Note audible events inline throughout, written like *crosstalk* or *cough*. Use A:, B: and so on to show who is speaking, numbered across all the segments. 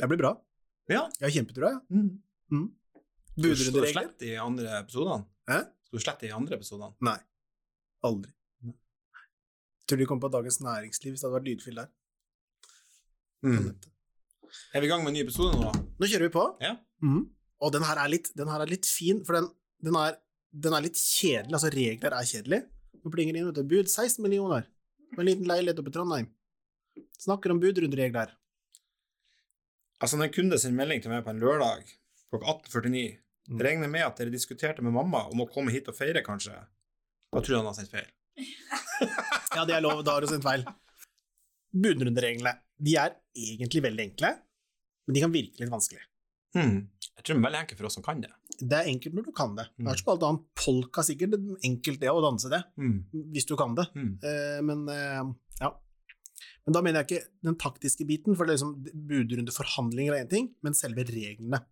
A: Det blir bra.
B: Ja.
A: Jeg har kjempetrua, jeg.
B: Mm.
A: Mm.
B: Skal du
A: Budrunderegler?
B: slette i andre episodene?
A: Hæ?
B: Skal du slette i andre episodene?
A: Aldri. Tror du de kom på Dagens Næringsliv hvis det hadde vært lydfil der?
B: Mm. Er vi i gang med en ny episode nå?
A: Nå kjører vi på.
B: Ja.
A: Mhm. Og den her er litt, den her er litt fin, for den, den, er, den er litt kjedelig. Altså, regler er kjedelig. Nå plinger det inn, vet du. Bud 16 millioner. På en liten leilighet oppe i Trondheim. Snakker om budrunderegler.
B: Altså, når en kunde sender melding til meg på en lørdag klokka 18.49
A: Mm.
B: Regner med at dere diskuterte med mamma om å komme hit og feire, kanskje? Da tror jeg han har sendt feil.
A: Ja, det er lov. Da har du sendt feil. Budrundereglene de er egentlig veldig enkle, men de kan virke litt vanskelig.
B: Mm. Jeg tror de er veldig enkle for oss som kan det.
A: Det er enkelt når du kan det. Det er som på alt annet. Polka sikkert det er enkelt det å danse det,
B: Mm.
A: hvis du kan det.
B: Mm.
A: Eh, men eh, ja. Men da mener jeg ikke den taktiske biten, for det er liksom budrundeforhandlinger er én ting, men selve reglene.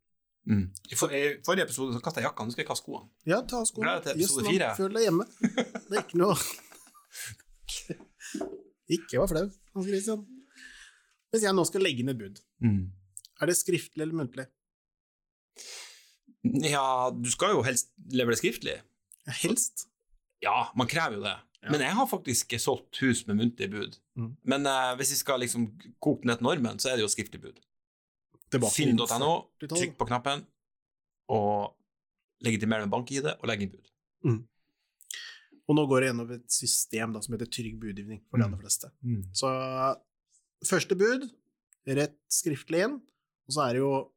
B: Mm. I, for, I forrige episode så kasta jeg jakka, nå skal jeg kaste skoene.
A: Ja, ta av skoene.
B: Gleder deg til episode
A: Jøss, nå
B: fire.
A: Føl deg hjemme. Det er ikke noe
B: *laughs*
A: Ikke vær flau, Hans Christian. Hvis jeg nå skal legge ned bud,
B: Mm.
A: er det skriftlig eller muntlig?
B: Ja, du skal jo helst levere det skriftlig.
A: Helst.
B: Ja, man krever jo det.
A: Ja.
B: Men jeg har faktisk solgt hus med muntlig bud.
A: Mm.
B: Men eh, hvis vi skal liksom koke ned til normen, så er det jo skriftlig bud.
A: Tilbake til
B: Finn.no,
A: til tolv.
B: trykk på knappen, og legitimer med bank-ID, og legg inn bud.
A: Og nå går jeg gjennom et system da, som heter trygg budgivning for de
B: Mm.
A: aller fleste. Så første bud, rett skriftlig inn, og så er det jo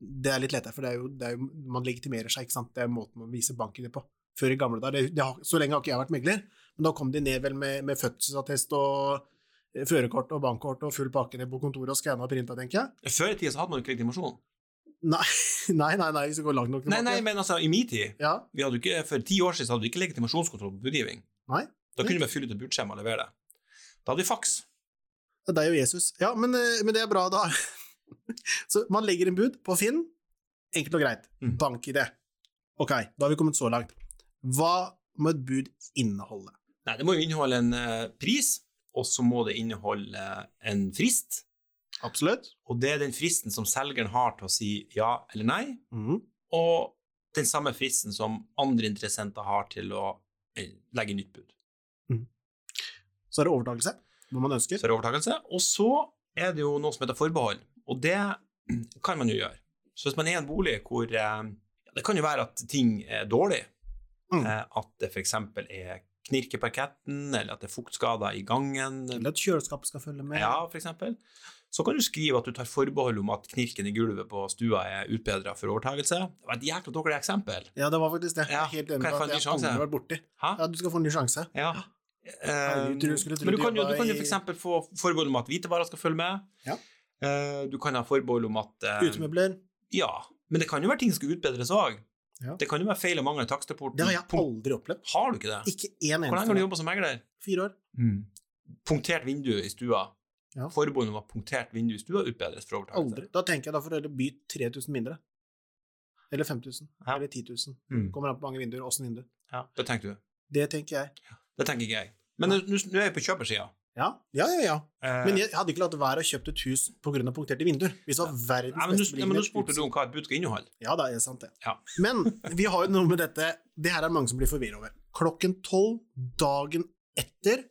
A: Det er litt lettere, for det er jo, det er jo man legitimerer seg, ikke sant. Det er måten man viser banken på. Før i gamle dager, det, det, har- så lenge har ikke jeg vært megler, men da kom de ned vel med, med fødselsattest og eh, førerkort og bankkort og full pakke ned på kontoret og skanna og printa, tenker jeg. *laughs*
B: Før i tida så hadde man jo ikke legitimasjon.
A: Nei, nei, nei, hvis det går langt nok
B: Nei,
A: tilbake.
B: nei, men altså, i min tid
A: Ja,
B: vi hadde jo ikke, For ti år siden så hadde vi ikke legitimasjonskontroll på budgivning.
A: Nei.
B: Da kunne vi bare fylle ut et budskjema og levere det. Da hadde vi faks.
A: det er deg og Jesus. Ja, men, eh, men det er bra, da. *laughs* så man legger inn bud på Finn. Enkelt og greit.
B: Mm.
A: Bank-ID. Ok, da har vi kommet så langt. Hva må et bud inneholde?
B: Nei, det må jo inneholde en eh, pris, og så må det inneholde eh, en frist.
A: Absolutt.
B: Og det er den fristen som selgeren har til å si ja eller nei,
A: Mhm.
B: og den samme fristen som andre interessenter har til å eh, legge nytt bud.
A: Så er det overtakelse, hva man ønsker.
B: Så er det overtakelse. Og så er det jo noe som heter forbehold, og det *clears throat* kan man jo gjøre. Så hvis man er i en bolig hvor eh, ja, Det kan jo være at ting er dårlig.
A: Mm.
B: Eh, At det f.eks. er knirk i parketten, eller at det er fuktskader i gangen,
A: Eller at kjøleskapet skal følge med.
B: Ja, for eksempel. Så kan du skrive at du tar forbehold om at knirken i gulvet på stua er utbedra for overtakelse. Det var et jækla dårlig eksempel.
A: Ja, det var faktisk det.
B: Ja,
A: Helt
B: kan
A: enig
B: jeg
A: med
B: få en
A: at jeg
B: ny sjanse?
A: aldri har vært borti.
B: Hæ?
A: Ja, du skal få en ny sjanse.
B: Ja. Eh,
A: Herregud, du skulle tro
B: men du
A: du
B: kan jo, du
A: jobba
B: kan jo
A: i-
B: for eksempel få forbehold om at hvitevarer skal følge med.
A: Ja.
B: Eh, du kan ha forbehold om at eh,
A: Utemøbler.
B: Ja. Men det kan jo være ting som skal utbedres òg.
A: Ja.
B: Det kan jo være feil og mangler i takstrapporten.
A: Det har jeg
B: Punkt-
A: aldri opplevd.
B: Har du ikke det?
A: Ikke én
B: Hvor lenge har du
A: eneste. gang.
B: jobba som megler?
A: Fire år.
B: Punktert vindu i stua.
A: Ja.
B: Forbehold om at punktert vindu i stua utbedres for overtakelse.
A: Aldri. Da tenker jeg da får du heller by 3000 mindre. Eller 5000.
B: Ja.
A: Eller 10 000.
B: Mm.
A: Kommer an på mange vinduer, åssen vindu.
B: Ja. Det tenker du.
A: Det tenker jeg.
B: Det tenker ikke jeg. Men nå nå- nå er jeg på kjøpersida.
A: Ja, ja, ja. ja.
B: Eh,
A: Men jeg hadde ikke latt være å kjøpt et hus pga. punkterte vinduer. Hvis det var
B: nei,
A: verdens
B: men
A: beste
B: nå- ja, men nå
A: beliggenhet.
B: spurte du om hva et bud skal inneholde.
A: Ja da, det er sant det.
B: Ja.
A: *laughs* Men vi har jo noe med dette Det her er mange som blir forvirra over. Klokken tolv dagen etter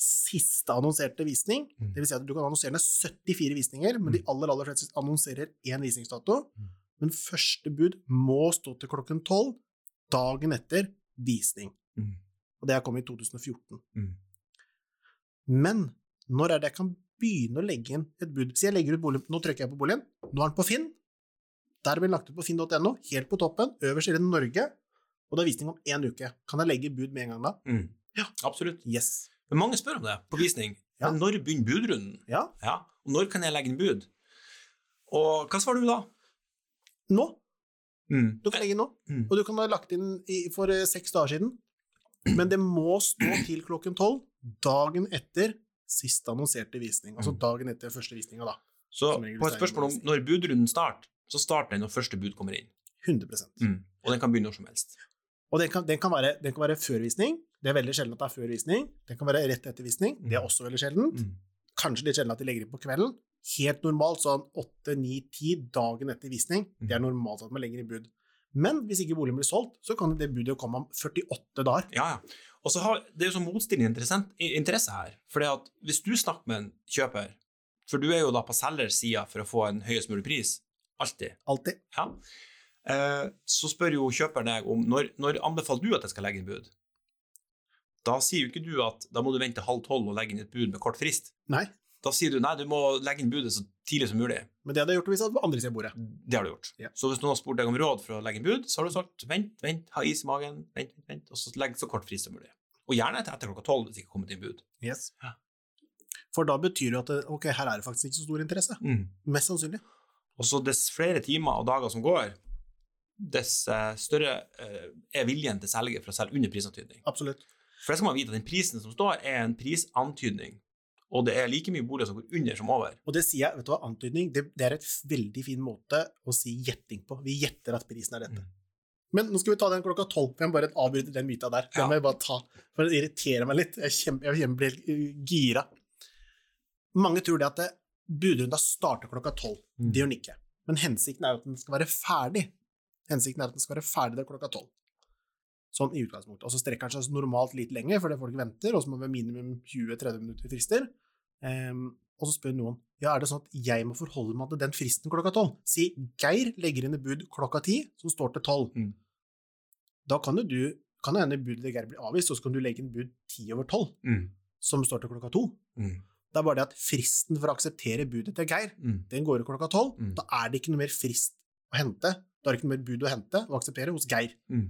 A: siste annonserte visning,
B: Mm.
A: det vil Si at du kan annonsere ned 74 visninger, men de aller aller fleste annonserer én visningsdato.
B: Mm.
A: Men første bud må stå til klokken tolv dagen etter visning.
B: Mm.
A: Og det her kom i 2014.
B: Mm.
A: Men når er det jeg kan begynne å legge inn et bud? Så jeg legger ut bolig, Nå trykker jeg på boligen. Nå er den på Finn. Der blir den lagt ut på finn.no, helt på toppen, øverst i den Norge, og det er visning om én uke. Kan jeg legge bud med en gang da?
B: Ja, absolutt.
A: Yes.
B: Men mange spør om det på visning.
A: Ja.
B: Men Når begynner budrunden?
A: Ja.
B: Ja. Og når kan jeg legge inn bud? Og hva svarer du da?
A: Nå.
B: Mm.
A: Du kan legge inn nå.
B: Mm.
A: Og du kan ha lagt inn i, for eh, seks dager siden. Men det må stå til klokken tolv dagen etter sist annonserte visning. Altså
B: Mm.
A: dagen etter første visninga, da.
B: Så
A: Som regel
B: på et
A: så er det
B: spørsmål om
A: visning.
B: når budrunden starter, så starter den når første bud kommer inn.
A: 100
B: Og den kan begynne når som helst.
A: Og den kan, den, kan være, den kan være før visning. Det er veldig sjelden
B: Mm.
A: at det er før visning. Den kan være rett etter visning. Det er også veldig sjeldent. Kanskje litt sjelden at de legger inn på kvelden, Helt normalt sånn 8-9-10 dagen etter visning. Det er normalt at man legger i bud. Men hvis ikke boligen blir solgt, så kan det budet komme om 48 dager.
B: Ja, ja. Og så har, Det er jo sånn motstillende interessant- i- interesse her. Fordi at Hvis du snakker med en kjøper, for du er jo da på selgers side for å få en høyest mulig pris, alltid,
A: Alltid.
B: ja. eh, så spør jo kjøper deg om når, når anbefaler du at jeg skal legge inn bud. Da sier jo ikke du at da må du vente halv tolv og legge inn et bud med kort frist.
A: Nei.
B: Da sier du nei, du må legge inn budet så tidlig som mulig.
A: Men det hadde jeg gjort hvis jeg var på andre siden av bordet.
B: Det har du gjort.
A: Ja.
B: Så hvis noen har spurt deg om råd for å legge inn bud, så har du sagt vent, vent, ha is i magen, vent, vent, vent, og så legg så kort frist som mulig. Og gjerne etter etter klokka tolv hvis det ikke har kommet inn bud.
A: Yes.
B: Ja.
A: For da betyr det jo at det- ok, her er det faktisk ikke så stor interesse. Mest sannsynlig.
B: Og så dess flere timer og dager som går, dess eh, større eh, er viljen til selger for å selge under prisantydning.
A: Absolutt.
B: For det skal man vite at den prisen som står, er en prisantydning. Og det er like mye boliger som går under som over.
A: Og det sier jeg, vet du hva, antydning, det, det er et veldig fin måte å si gjetting på. Vi gjetter at prisen er dette.
B: Mm.
A: Men nå skal vi ta den klokka tolv. Jeg må bare avbryte den myta der. Den
B: Ja.
A: må jeg bare ta, for det irriterer meg litt. Jeg, kjem, jeg kjem- blir uh, gira. Mange tror det at eh, det- budrunda starter klokka tolv.
B: Mm.
A: Det gjør den ikke. Men hensikten er jo at den skal være ferdig. Hensikten er at den skal være ferdig til klokka tolv. Sånn i utgangspunktet. Og så strekker den seg altså normalt litt lenger, fordi folk venter, og så må vi ha minimum 20-30 minutter frister. Ehm, og så spør noen ja, er det sånn at jeg må forholde meg til den fristen klokka tolv. Si Geir legger inn et bud klokka ti, som står til tolv.
B: Mm.
A: Da kan jo du kan jo hende budet til Geir blir avvist, og så kan du legge inn bud ti over tolv, som står til klokka to.
B: Mm.
A: Det er bare det at fristen for å akseptere budet til Geir
B: Mm.
A: den går ut klokka tolv.
B: Mm.
A: Da er det ikke noe mer frist å hente. Da er det ikke noe mer bud å hente og akseptere hos Geir.
B: Mm.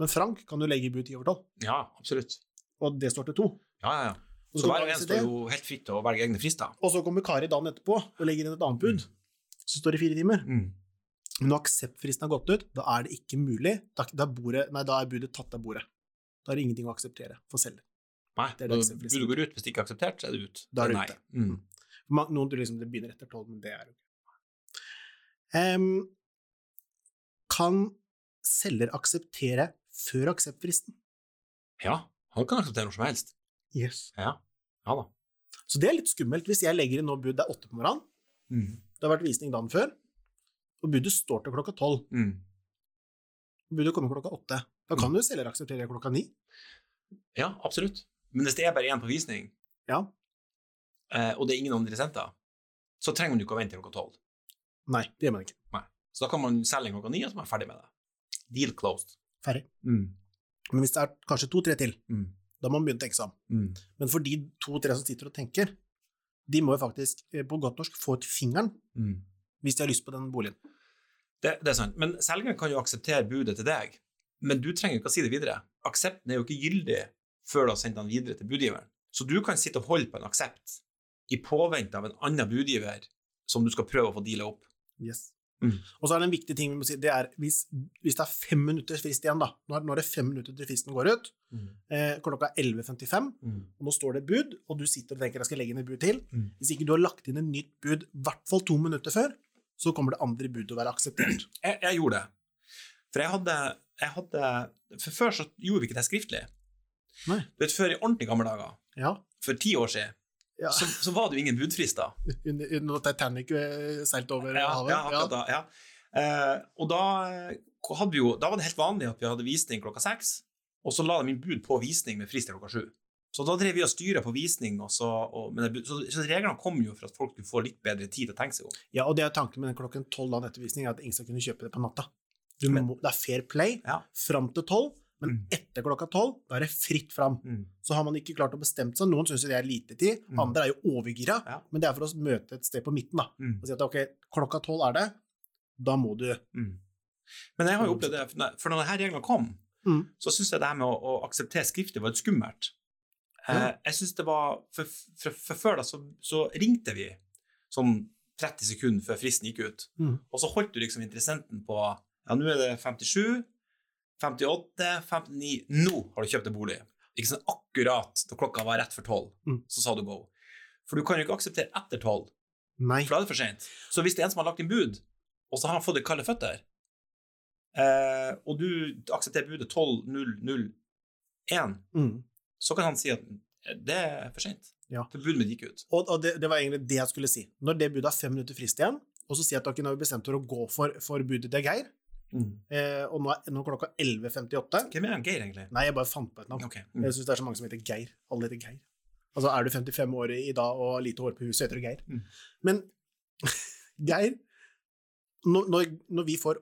A: Men Frank kan jo legge i bud ti over tolv,
B: Ja, absolutt.
A: og det står til to.
B: Ja, ja, ja.
A: Og
B: Så
A: så,
B: hver
A: kommer
B: og en
A: ACD,
B: står jo helt fritt til å velge egne frister.
A: og så kommer Kari dagen etterpå og legger inn et annet bud.
B: Mm.
A: Så står det fire timer. Men når akseptfristen har gått ut, da er det ikke mulig. Da, da, er bordet, nei, da er budet tatt av bordet. Da er det ingenting å akseptere for selger.
B: Nei,
A: Det er det
B: når
A: eksempelet.
B: budet går ut, hvis det ikke er akseptert, så er det ut.
A: Da er det
B: Nei.
A: ute.
B: Mm.
A: Ma- Noen tror liksom det begynner etter tolv, men det er jo ikke Em, Kan selger akseptere før akseptfristen?
B: Ja, han kan akseptere noe som helst.
A: Yes.
B: Ja, ja da.
A: Så det er litt skummelt hvis jeg legger inn nå bud det er åtte på morgenen, det har vært visning dagen før, og budet står til klokka tolv,
B: Mm.
A: og budet kommer klokka åtte. Da kan jo selger akseptere klokka ni.
B: Ja, absolutt. Men hvis det er bare én på visning,
A: Ja.
B: eh, og det er ingen andre interessenter, så trenger man jo ikke å vente til klokka tolv.
A: Nei, det gjør man ikke.
B: Så da kan man selge klokka ni, og så er man ferdig med det. Deal closed.
A: Ferdig.
B: Mm.
A: Men hvis det er kanskje to-tre til,
B: Mm.
A: da må man begynne å tenke seg om.
B: Mm.
A: Men for de to-tre som sitter og tenker, de må jo faktisk eh, på godt norsk få ut fingeren
B: Mm.
A: hvis de har lyst på den boligen.
B: Det, det er sant. Men selgeren kan jo akseptere budet til deg, men du trenger jo ikke å si det videre. Aksepten er jo ikke gyldig før du har sendt den videre til budgiveren. Så du kan sitte og holde på en aksept i påvente av en annen budgiver som du skal prøve å få deala opp.
A: Yes.
B: Mm.
A: Og så er det en viktig ting vi må si, det er hvis, hvis det er fem minutter frist igjen, da. Nå er, nå er det fem minutter til fristen går ut, eh, klokka er 11.55, og nå står det et bud, og du sitter og tenker jeg skal legge inn et bud til.
B: Mm.
A: Hvis ikke du har lagt inn et nytt bud i hvert fall to minutter før, så kommer det andre budet å være akseptert.
B: Jeg, jeg gjorde det. For jeg hadde, jeg hadde For før så gjorde vi ikke det skriftlig.
A: Nei.
B: Du vet, før i ordentlig gamle dager,
A: Ja.
B: for ti år siden,
A: Ja.
B: så, så var det jo ingen budfrister.
A: Under- under Når Titanic eh, seilte over
B: Ja,
A: havet.
B: ja, akkurat da. Ja. Eh, og da, eh, hadde vi jo, da var det helt vanlig at vi hadde visning klokka seks, og så la de inn bud på visning med frist til klokka sju. Så da drev vi og styra på visning, og så, og, men det, bud- så, så reglene kom jo for at folk skulle få litt bedre tid til å tenke seg om.
A: Ja, og det er tanken med den klokken tolv dagen etter visning, er at ingen skal kunne kjøpe det på natta. Du
B: Men-
A: må, det er fair play
B: Ja.
A: fram til tolv, men
B: Mm.
A: etter klokka tolv, da er det fritt fram. Så har man ikke klart å bestemme seg. Noen syns det er lite tid,
B: Mm.
A: andre er jo overgira,
B: Ja.
A: men det er for å møte et sted på midten, da.
B: Mm.
A: Og si at ok, klokka tolv er det, da må du
B: Mm. Men jeg har jo opplevd det, for når- for når denne reglene kom,
A: Sånn. Mm.
B: så syns jeg det her med å, å akseptere skriftlig var litt skummelt.
A: Ja.
B: Eh, jeg synes det var, for, for, for Før da så, så ringte vi sånn 30 sekunder før fristen gikk ut,
A: Mm.
B: og så holdt du liksom interessenten på Ja, nå er det 57, 58, 59 Nå har du kjøpt en bolig! Ikke sånn akkurat da klokka var rett for tolv,
A: Mm.
B: så sa du go. For du kan jo ikke akseptere etter tolv.
A: Nei.
B: For da er det for sent. Så hvis det er en som har lagt inn bud, og så har han fått det kalde føtter, eh, og du aksepterer budet 12.001,
A: Mm.
B: så kan han si at eh, det er for sent.
A: Ja.
B: For budet mitt gikk ut.
A: Og, og det, det var egentlig det jeg skulle si. Når det budet har fem minutter frist igjen, og så sier jeg at dere nå har bestemt dere å gå for, for budet til Geir, eh, og nå er, nå er klokka 11.58
B: Hvem er han Geir, egentlig?
A: Nei, jeg bare fant på et navn.
B: Ok. Mm.
A: Jeg syns det er så mange som heter Geir. Alle heter Geir. Altså, er du 55 år i dag og har lite hår på huset, heter du Geir.
B: Mm.
A: Men *laughs* Geir når, når, når vi får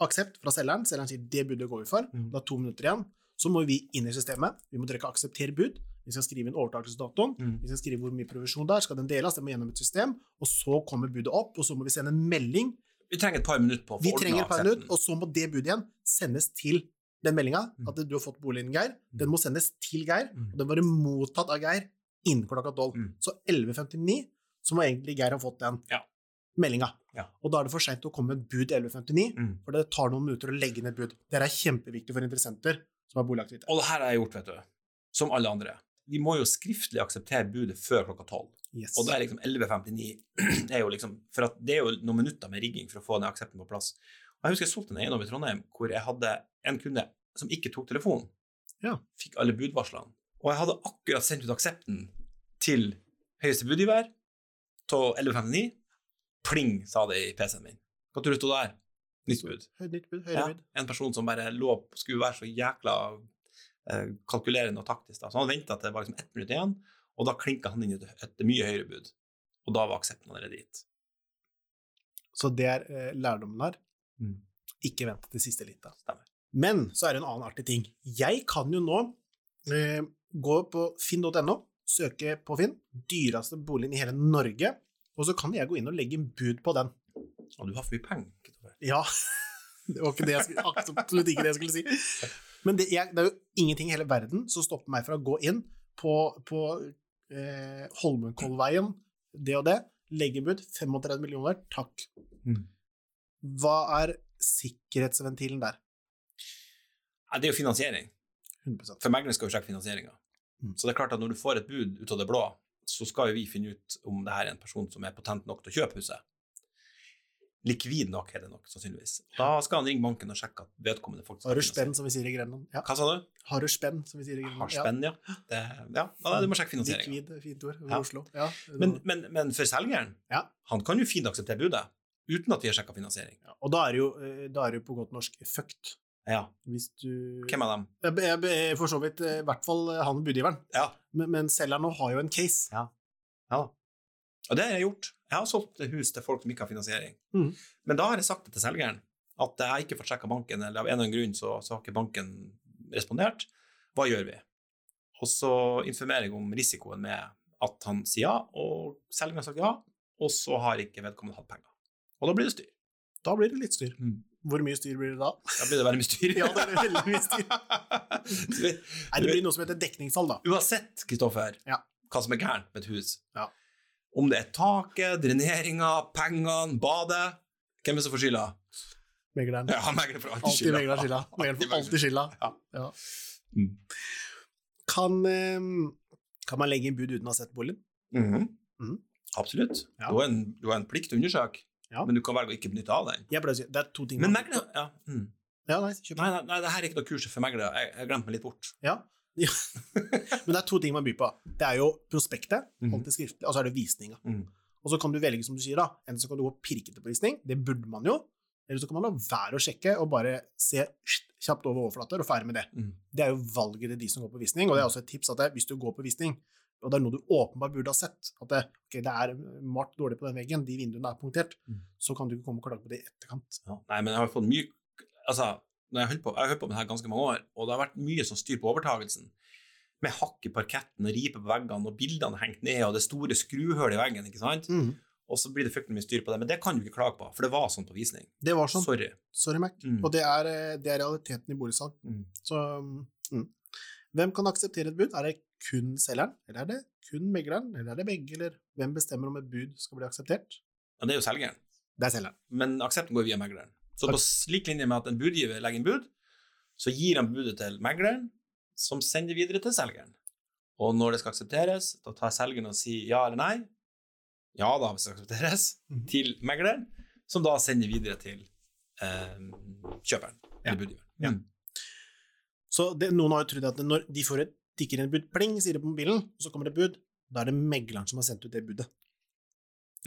A: aksept fra selgeren, selgeren sier 'det budet går vi for',
B: Mm.
A: det er to minutter igjen, så må vi inn i systemet. Vi må trykke 'aksepter bud', vi skal skrive inn overtakelsesdatoen,
B: Mm.
A: vi skal skrive hvor mye provisjon det er, skal den deles, det må gjennom et system, og så kommer budet opp, og så må vi sende en melding.
B: Vi trenger et par minutter på å
A: Vi
B: få
A: trenger
B: ordnet
A: et par
B: aksepten.
A: minutt, og så må det budet igjen sendes til den meldinga at du har fått boligen, Geir. Den må sendes til Geir,
B: Mm.
A: og den må være mottatt av Geir innen klokka 12.
B: Mm.
A: Så 11.59 så må egentlig Geir ha fått den
B: Ja.
A: meldinga.
B: Ja.
A: Og da er det for seint å komme med et bud 11.59,
B: Mm.
A: for det tar noen minutter å legge ned bud. Det her er kjempeviktig for interessenter som har boligaktivitet.
B: Og det her har jeg gjort, vet du. Som alle andre. Vi må jo skriftlig akseptere budet før klokka tolv.
A: Yes.
B: Og da er liksom 11.59 er jo liksom, For at det er jo noen minutter med rigging for å få den aksepten på plass. Og Jeg husker jeg solgte en eiendom i Trondheim hvor jeg hadde en kunde som ikke tok telefonen.
A: Ja.
B: Fikk alle budvarslene. Og jeg hadde akkurat sendt ut aksepten til høyeste budgiver til 11.59. Pling, sa det i PC-en min. Hva tror du sto der? Nytt bud.
A: Høyt nytt bud, høyere
B: Ja,
A: bud.
B: en person som bare lå skulle være så jækla eh, kalkulerende og taktisk. Da. Så han venta til det var liksom ett minutt igjen, og da klinka han inn i et, et mye høyere bud. Og da var aksepten allerede gitt.
A: Så det er eh, lærdommen her.
B: Mm.
A: Ikke vent til siste lita.
B: Stemmer.
A: Men så er det en annen artig ting. Jeg kan jo nå eh, gå på finn.no, søke på Finn, dyreste boligen i hele Norge, og så kan jeg gå inn og legge en bud på den.
B: Og du har for mye penger. Kristoffer.
A: Ja, *laughs* det var ikke det jeg skulle, absolutt ikke det jeg skulle si. Men det, jeg, det er jo ingenting i hele verden som stopper meg fra å gå inn på, på eh, Holmenkollveien, det og det, legge bud, 35 millioner, takk.
B: Mm.
A: Hva er sikkerhetsventilen der?
B: Nei, det er jo finansiering.
A: 100
B: For megleren skal jo sjekke finansieringa.
A: Mm.
B: Så det er klart at når du får et bud ut av det blå, så skal jo vi finne ut om det her er en person som er potent nok til å kjøpe huset. Likvid nok er det nok, sannsynligvis. Da skal han ringe banken og sjekke at vedkommende faktisk
A: Har du
B: finansiering.
A: spenn, som vi sier i Grenland? Ja.
B: Hva sa du?
A: Har du spenn, som vi sier i Grenland?
B: Har spenn, ja. Det, ja. ja du må sjekke
A: Ja.
B: finansieringa.
A: Likvid, fint ord, over
B: Ja.
A: Oslo. Ja.
B: Men, men, men for selgeren,
A: Ja.
B: han kan jo fint akseptere budet, uten at vi har sjekka finansiering.
A: Ja, og da er det jo, eh, da er det jo på godt norsk fucked.
B: Ja,
A: Hvis du
B: Hvem av dem?
A: Jeg, jeg, jeg, For så vidt, eh, i hvert fall eh, han budgiveren.
B: Ja.
A: Men, men selgeren nå har jo en case.
B: ja. Og det har jeg gjort. Jeg har solgt hus til folk som ikke har finansiering.
A: Mhm.
B: Men da har jeg sagt det til selgeren, at jeg har ikke fått sjekka banken, eller av en eller annen grunn så, så har ikke banken respondert. Hva gjør vi? Og så informerer jeg om risikoen med at han sier ja, og selgeren har sagt ja, og så har ikke vedkommende hatt penger. Og da blir det styr.
A: Da blir det litt styr.
B: Mm.
A: Hvor mye styr blir det da? *laughs*
B: Da blir det veldig mye styr.
A: Ja,
B: *laughs*
A: det *laughs* blir veldig mye styr.
B: Du vet-
A: Nei, det blir noe som heter dekningsfall, da.
B: Uansett, Kristoffer,
A: Ja.
B: hva som er gærent med et hus.
A: Ja.
B: Om det er taket, dreneringa, pengene, badet Hvem er det som får skylda?
A: Megleren.
B: Ja, megler får alltid
A: Alltid
B: skylda.
A: megleren skylda. Megleren får alltid skylda.
B: Ja.
A: Ja.
B: Mm.
A: Kan, eh, kan man legge inn bud uten å ha sett boligen?
B: Mhm.
A: Mhm.
B: Absolutt.
A: Ja.
B: Du, har en, du har en plikt til å undersøke,
A: Ja.
B: men du kan velge å ikke benytte av den.
A: Jeg pleier å si det er to ting
B: Men
A: man-
B: megler ja. mm.
A: Ja, nei, kjør på.
B: nei, nei, nei, det her er ikke noe kurs for meglere. Jeg, jeg glemte meg litt bort.
A: Men det er to ting man byr på. Det er jo prospektet,
B: Mhm.
A: alltid skriftlig, og så er det visninga.
B: Mhm.
A: Og så kan du velge, som du sier, da. Enten så kan du gå pirkete på visning, det burde man jo. Eller så kan man la være å sjekke og bare se kjapt over overflater og ferdig med det.
B: Mhm.
A: Det er jo valget til de som går på visning, og det er også et tips at det, hvis du går på visning, og det er noe du åpenbart burde ha sett, at det, ok, det er malt dårlig på den veggen, de vinduene er punktert,
B: Mhm.
A: så kan du ikke komme og klage på det i etterkant.
B: Ja. Nei, men jeg har fått mye Altså, når jeg har holdt på, jeg har holdt på med det her ganske mange år, og det har vært mye som styr på overtagelsen. Med hakk i parketten og riper på veggene, og bildene hengt ned, og det store skruhullet i veggen. ikke sant? Og så blir det fryktelig mye styr på det, men det kan du ikke klage på, for det var sånn på visning.
A: Det var sånn.
B: Sorry.
A: Sorry, Mac.
B: Mm.
A: Og det er, eh, det er realiteten i boligsalg.
B: Mm.
A: Så mm. Hvem kan akseptere et bud? Er det kun selgeren, eller er det kun megleren, eller er det begge, eller hvem bestemmer om et bud skal bli akseptert?
B: Ja, det er jo selgeren,
A: Det er selgeren.
B: men aksepten går via megleren. Så på s- lik linje med at en budgiver legger inn bud, så gir han budet til megleren, som sender videre til selgeren. Og når det skal aksepteres, da tar selgeren og sier ja eller nei. Ja da, hvis det aksepteres,
A: Mhm.
B: til megleren, som da sender videre til eh, kjøperen,
A: Ja.
B: eller budgiveren.
A: Ja.
B: Mm.
A: Så det, noen har jo trodd at når de får et tikker inn et bud, pling, sier det på mobilen, og så kommer det bud, Da er det megleren som har sendt ut det budet.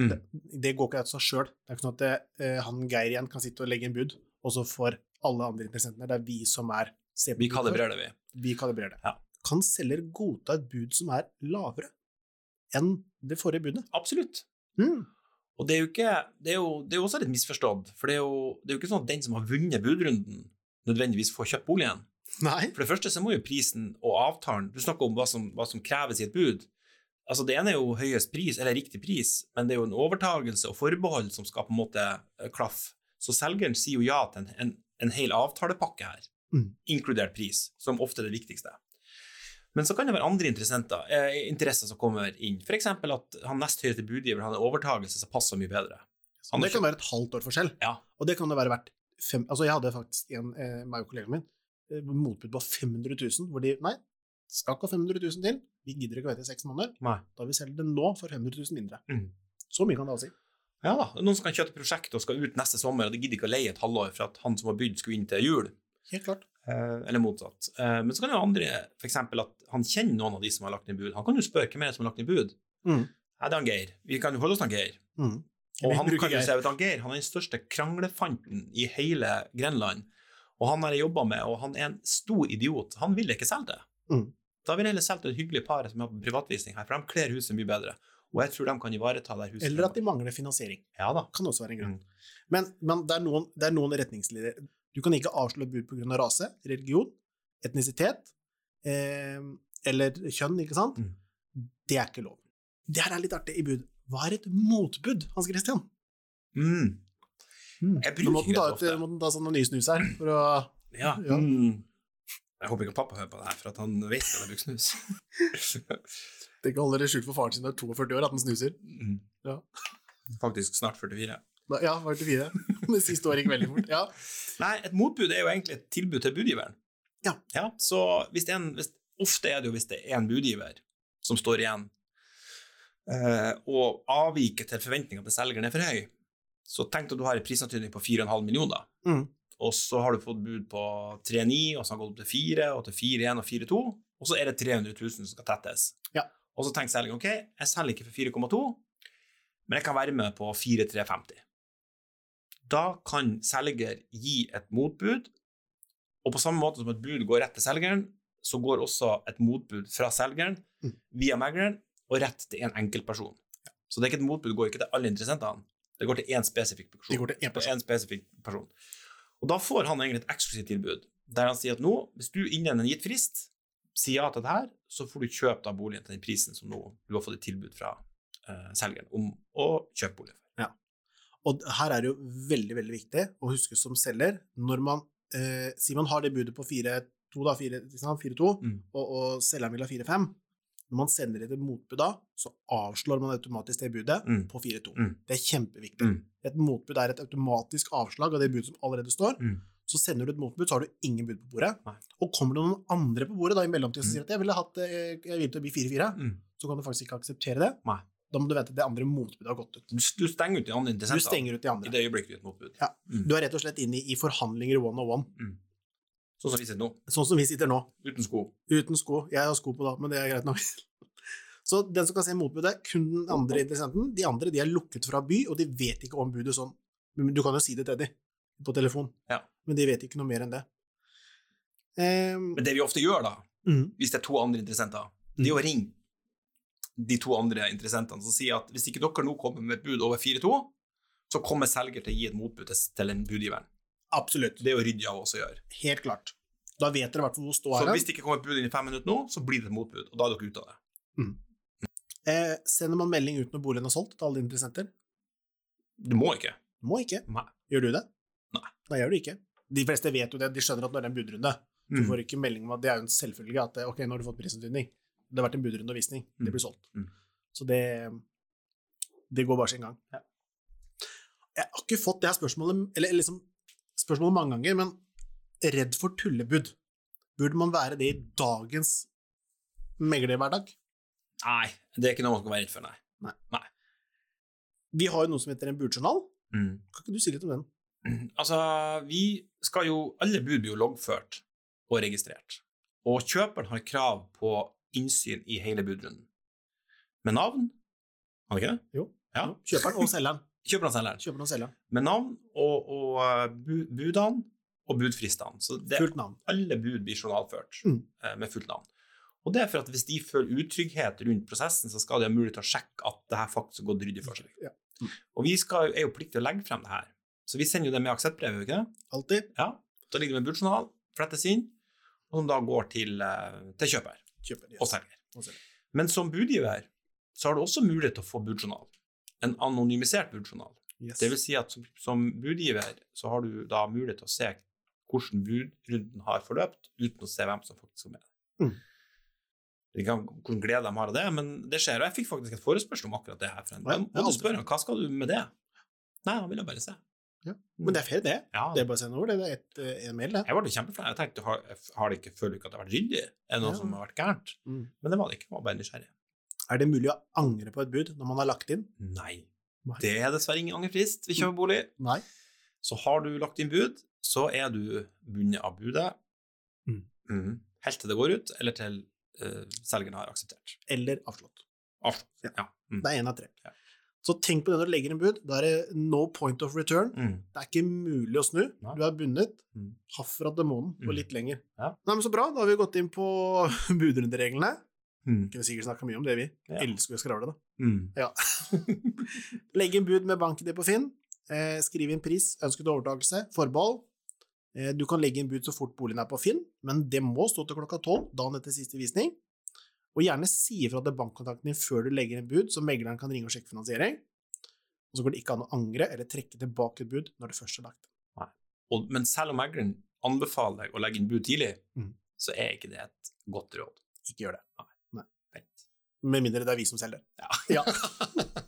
B: Mm.
A: Det, det går ikke av seg sjøl. Det er ikke sånn at det, eh, han Geir igjen kan sitte og legge inn bud, og så får alle andre interessentene Det er vi som er ser på
B: Vi
A: bud først.
B: kalibrerer det, vi.
A: Vi kalibrerer det.
B: Ja.
A: Kan selger godta et bud som er lavere enn det forrige budet?
B: Absolutt.
A: Mm.
B: Og det er jo ikke Det er jo, det er jo også litt misforstått, for det er, jo, det er jo ikke sånn at den som har vunnet budrunden, nødvendigvis får kjøpt boligen.
A: Nei.
B: For det første så må jo prisen og avtalen Du snakker om hva som, hva som kreves i et bud. Altså Det ene er jo høyest pris, eller riktig pris, men det er jo en overtagelse og forbehold som skal på en måte eh, klaffe. Så selgeren sier jo ja til en, en, en hel avtalepakke her,
A: Mm.
B: inkludert pris, som ofte er det viktigste. Men så kan det være andre interessenter, eh, interesser som kommer inn. F.eks. at han nest høyeste budgiver har en overtagelse som passer mye bedre. Han
A: det
B: har
A: kan være et halvt år forskjell.
B: Ja.
A: Og det kan det være verdt fem Altså, jeg hadde faktisk en, eh, meg og kollegaen min, eh, motbud på 500 000, hvor de Nei, skal ikke ha 500 000 til. Vi gidder ikke å vente i seks måneder.
B: Nei.
A: Da vil vi selge den nå for 500 000 mindre.
B: Mm.
A: Så mye kan det altså si.
B: Ja da, noen som kan kjøpe prosjektet og skal ut neste sommer, og de gidder ikke å leie et halvår for at han som har bydd skulle inn til jul,
A: Helt klart.
B: eh, eller motsatt. Eh, men så kan jo andre, for eksempel at han kjenner noen av de som har lagt ned bud. Han kan jo spørre hvem er det som har lagt ned bud.
A: Mm.
B: Nei, det er han Geir. Vi kan jo holde oss til han Geir.
A: Mm.
B: Og
A: Vi
B: han
A: bruker
B: kan jo
A: Geir.
B: si at han Geir han er den største kranglefanten i hele Grenland. Og han har jeg jobba med, og han er en stor idiot. Han vil ikke selge det.
A: Mm.
B: Da vil jeg heller selge til et hyggelig par som har privatvisning her, for de kler huset mye bedre. Og jeg tror de kan ivareta det huset.
A: Eller at de mangler finansiering.
B: Ja da.
A: Kan også være en grunn.
B: Mm.
A: Men, men det, er noen, det er noen retningslinjer. Du kan ikke avslå bud pga. rase, religion, etnisitet eh, eller kjønn, ikke sant?
B: Mm.
A: Det er ikke lov. Det her er litt artig i bud. Hva er et motbud, Hans Christian?
B: Mm. Jeg
A: Nå måtte
B: bruker
A: den ta,
B: det
A: ut,
B: ofte.
A: må den ta sånn ny snus her for å
B: Ja.
A: Ja.
B: Mm. Jeg håper ikke pappa hører på det her, for at han vet at jeg bruker snus.
A: Det kan holde det skjult for faren sin når 42 år at den snuser.
B: *laughs* Mm.
A: Ja.
B: Faktisk snart 44.
A: Da- Ja, var det *laughs* fire? Det siste året gikk veldig fort. Ja.
B: Nei, et motbud er jo egentlig et tilbud til budgiveren.
A: Ja.
B: så hvis det er en, hvis, ofte er det jo hvis det er en budgiver som står igjen, eh, og avviket til forventningene til selgeren er for høy, så tenk deg at du har en prisantydning på 4,5 millioner,
A: Mm.
B: og så har du fått bud på 3,9, og så har det gått opp til 4, og til 4,1 og 4,2, og så er det 300 000 som skal tettes.
A: Ja.
B: Og så tenker selgeren, ok, jeg selger ikke for 4,2, men jeg kan være med på 4,350. Da kan selger gi et motbud, og på samme måte som et bud går rett til selgeren, så går også et motbud fra selgeren
A: Mm.
B: via megleren og rett til en enkeltperson. Så det er ikke et motbud, det går ikke til alle interessentene. Det går til én spesifikk person
A: De går til én
B: på
A: person.
B: en spesifikk person. Og da får han egentlig et eksklusivt tilbud, der han sier at nå, hvis du innen en gitt frist sier ja til det her, så får du kjøpe da boligen til den prisen som nå du har fått et tilbud fra eh, selgeren om å kjøpe boligen for.
A: Og her er det jo veldig, veldig viktig å huske som selger, når man eh, sier man har det budet på 4-2, da, 4, ikke sant, 4-2,
B: Mm.
A: og, og selgeren vil ha 4-5, når man sender et motbud da, så avslår man automatisk det budet
B: Mm.
A: på 4-2.
B: Mm.
A: Det er kjempeviktig.
B: Mm.
A: Et motbud er et automatisk avslag av det budet som allerede står.
B: Mm.
A: Så sender du et motbud, så har du ingen bud på bordet.
B: Nei.
A: Og kommer det noen andre på bordet da i mellomtiden som
B: Mm.
A: sier at jeg ville hatt, eh, jeg ville til å bli 4-4,
B: Mm.
A: så kan du faktisk ikke akseptere det.
B: Nei.
A: Da må du vente til det andre motbudet har gått ut.
B: Du, du stenger ut de andre
A: Du
B: interessentene
A: stenger ut de andre.
B: i det øyeblikket du gir et motbud.
A: Ja.
B: Mm.
A: Du er rett og slett inne i, i forhandlinger one on one,
B: Sånn som vi sitter nå,
A: sånn som vi sitter nå,
B: uten sko.
A: uten sko. Jeg har sko på da, men det er greit nok. *laughs* Så den som kan se motbudet, er kun den andre interessenten. De andre de er lukket fra by, og de vet ikke om budet sånn. Men du kan jo si det til dem på telefon,
B: Ja.
A: men de vet ikke noe mer enn det. Ehm,
B: Men det vi ofte gjør da,
A: mm,
B: hvis det er to andre interessenter, det er å ringe de to andre interessentene og si at hvis ikke dere nå kommer med et bud over 4-2, så kommer selger til å gi et motbud til- til den budgiveren.
A: absolutt.
B: Det er jo ryddig av oss å gjøre.
A: Helt klart. Da vet dere i hvert fall hvor ståa
B: Så
A: er.
B: hvis det ikke kommer et bud inn i fem minutter nå, så blir det et motbud, og da er dere ute av det.
A: Eh, sender man melding ut når boligen er solgt til alle interessenter?
B: Du må ikke.
A: Må ikke.
B: Nei.
A: Gjør du det?
B: Nei.
A: Nei, gjør du ikke. De fleste vet jo det. De skjønner at når det er en budrunde,
B: Mm.
A: Du får ikke melding om at det er jo en selvfølge at eh, ok, nå har du fått prisantydning. Det har vært en budrunde og visning.
B: Mm.
A: Det blir solgt.
B: Mm.
A: Så det, det går bare sin gang.
B: Ja.
A: Jeg har ikke fått det her spørsmålet, eller liksom spørsmålet mange ganger, men redd for tullebud. Burde man være det i dagens meglerhverdag?
B: Nei, det er ikke noe man skal være redd for, nei.
A: Vi har jo noe som heter en budjournal. Kan ikke du si litt om den? Mm.
B: *clears throat* Altså, vi skal jo Alle bud blir jo loggført og registrert. Og kjøperen har krav på innsyn i hele budrunden. Med navn? Har det ikke det?
A: Jo.
B: Ja.
A: Jo, Kjøperen og selgeren.
B: Kjøper han selgeren.
A: Kjøperen og selgeren.
B: Med navn og, og eh, bu, budene og budfristene. Så det,
A: Fullt navn.
B: alle bud blir journalført
A: Mm.
B: eh, med fullt navn. Og det er for at hvis de føler utrygghet rundt prosessen, så skal de ha mulighet til å sjekke at det her faktisk har gått ryddig for seg. Mm.
A: Ja.
B: Og vi skal, er jo pliktig å legge frem det her. Så vi sender jo det med akseptbrev, gjør vi ikke det?
A: Alltid.
B: Ja. Da ligger det med budjournal, flettes inn, og som da går til, eh, til kjøper
A: Kjøperen.
B: og selger.
A: Og selger.
B: Men som budgiver så har du også mulighet til å få budjournal. En anonymisert budjournal.
A: Yes.
B: Det vil si at som, som budgiver så har du da mulighet til å se hvordan budrunden har forløpt, uten å se hvem som faktisk er med.
A: Mm.
B: Det kan, hvor glede de har av det, men det skjer. Og jeg fikk faktisk et forespørsel om akkurat det her. For en.
A: Ja,
B: Jeg
A: ja,
B: måtte spørre han, hva skal du med det? Nei, han ville bare se.
A: Ja, Men det er fair, det.
B: Ja,
A: Det er bare å sende over. Det Det er et, eh, en mail, det.
B: jeg ble kjempeflau. Jeg tenkte, har, har det ikke, føler du ikke at det har vært ryddig? Er det noe
A: Ja.
B: som har vært gærent?
A: Mm.
B: Men det var det ikke, jeg var bare nysgjerrig.
A: Er det mulig å angre på et bud når man har lagt inn?
B: Nei.
A: Nei.
B: Det er dessverre ingen angrefrist ved kjøpebolig.
A: Nei.
B: Så har du lagt inn bud, så er du bundet av budet
A: Mm.
B: Mhm. helt til det går ut, eller til eh, selgeren har akseptert.
A: Eller avslått.
B: Avslått.
A: Ja.
B: Ja. Mm.
A: Det er én av tre.
B: Ja.
A: Så tenk på det når du legger inn bud. Da er det no point of return.
B: Mm.
A: Det er ikke mulig å snu.
B: Nei.
A: Du er bundet.
B: Mm.
A: Herfra til månen og
B: Mm.
A: litt lenger.
B: Ja.
A: Nei, men Så bra, da har vi gått inn på *laughs* budrundereglene.
B: Mm.
A: Vi kunne sikkert snakka mye om det, vi.
B: Ja.
A: Elsker jo å skravle, da.
B: Mm.
A: *laughs* Legg inn bud med bankidé på Finn. Eh, skriv inn pris, ønsket overtakelse, forbehold. Eh, du kan legge inn bud så fort boligen er på Finn, men det må stå til klokka tolv dagen etter siste visning. Og gjerne si ifra til bankkontakten din før du legger inn bud, så megleren kan ringe og sjekke finansiering. Og så går det ikke an å angre eller trekke tilbake et bud når det først er lagt.
B: Og, men selv om megleren anbefaler deg å legge inn bud tidlig,
A: Mm.
B: så er ikke det et godt råd.
A: Ikke gjør det.
B: Nei.
A: Med mindre det er vi som selger.
B: Ja.
A: Ja.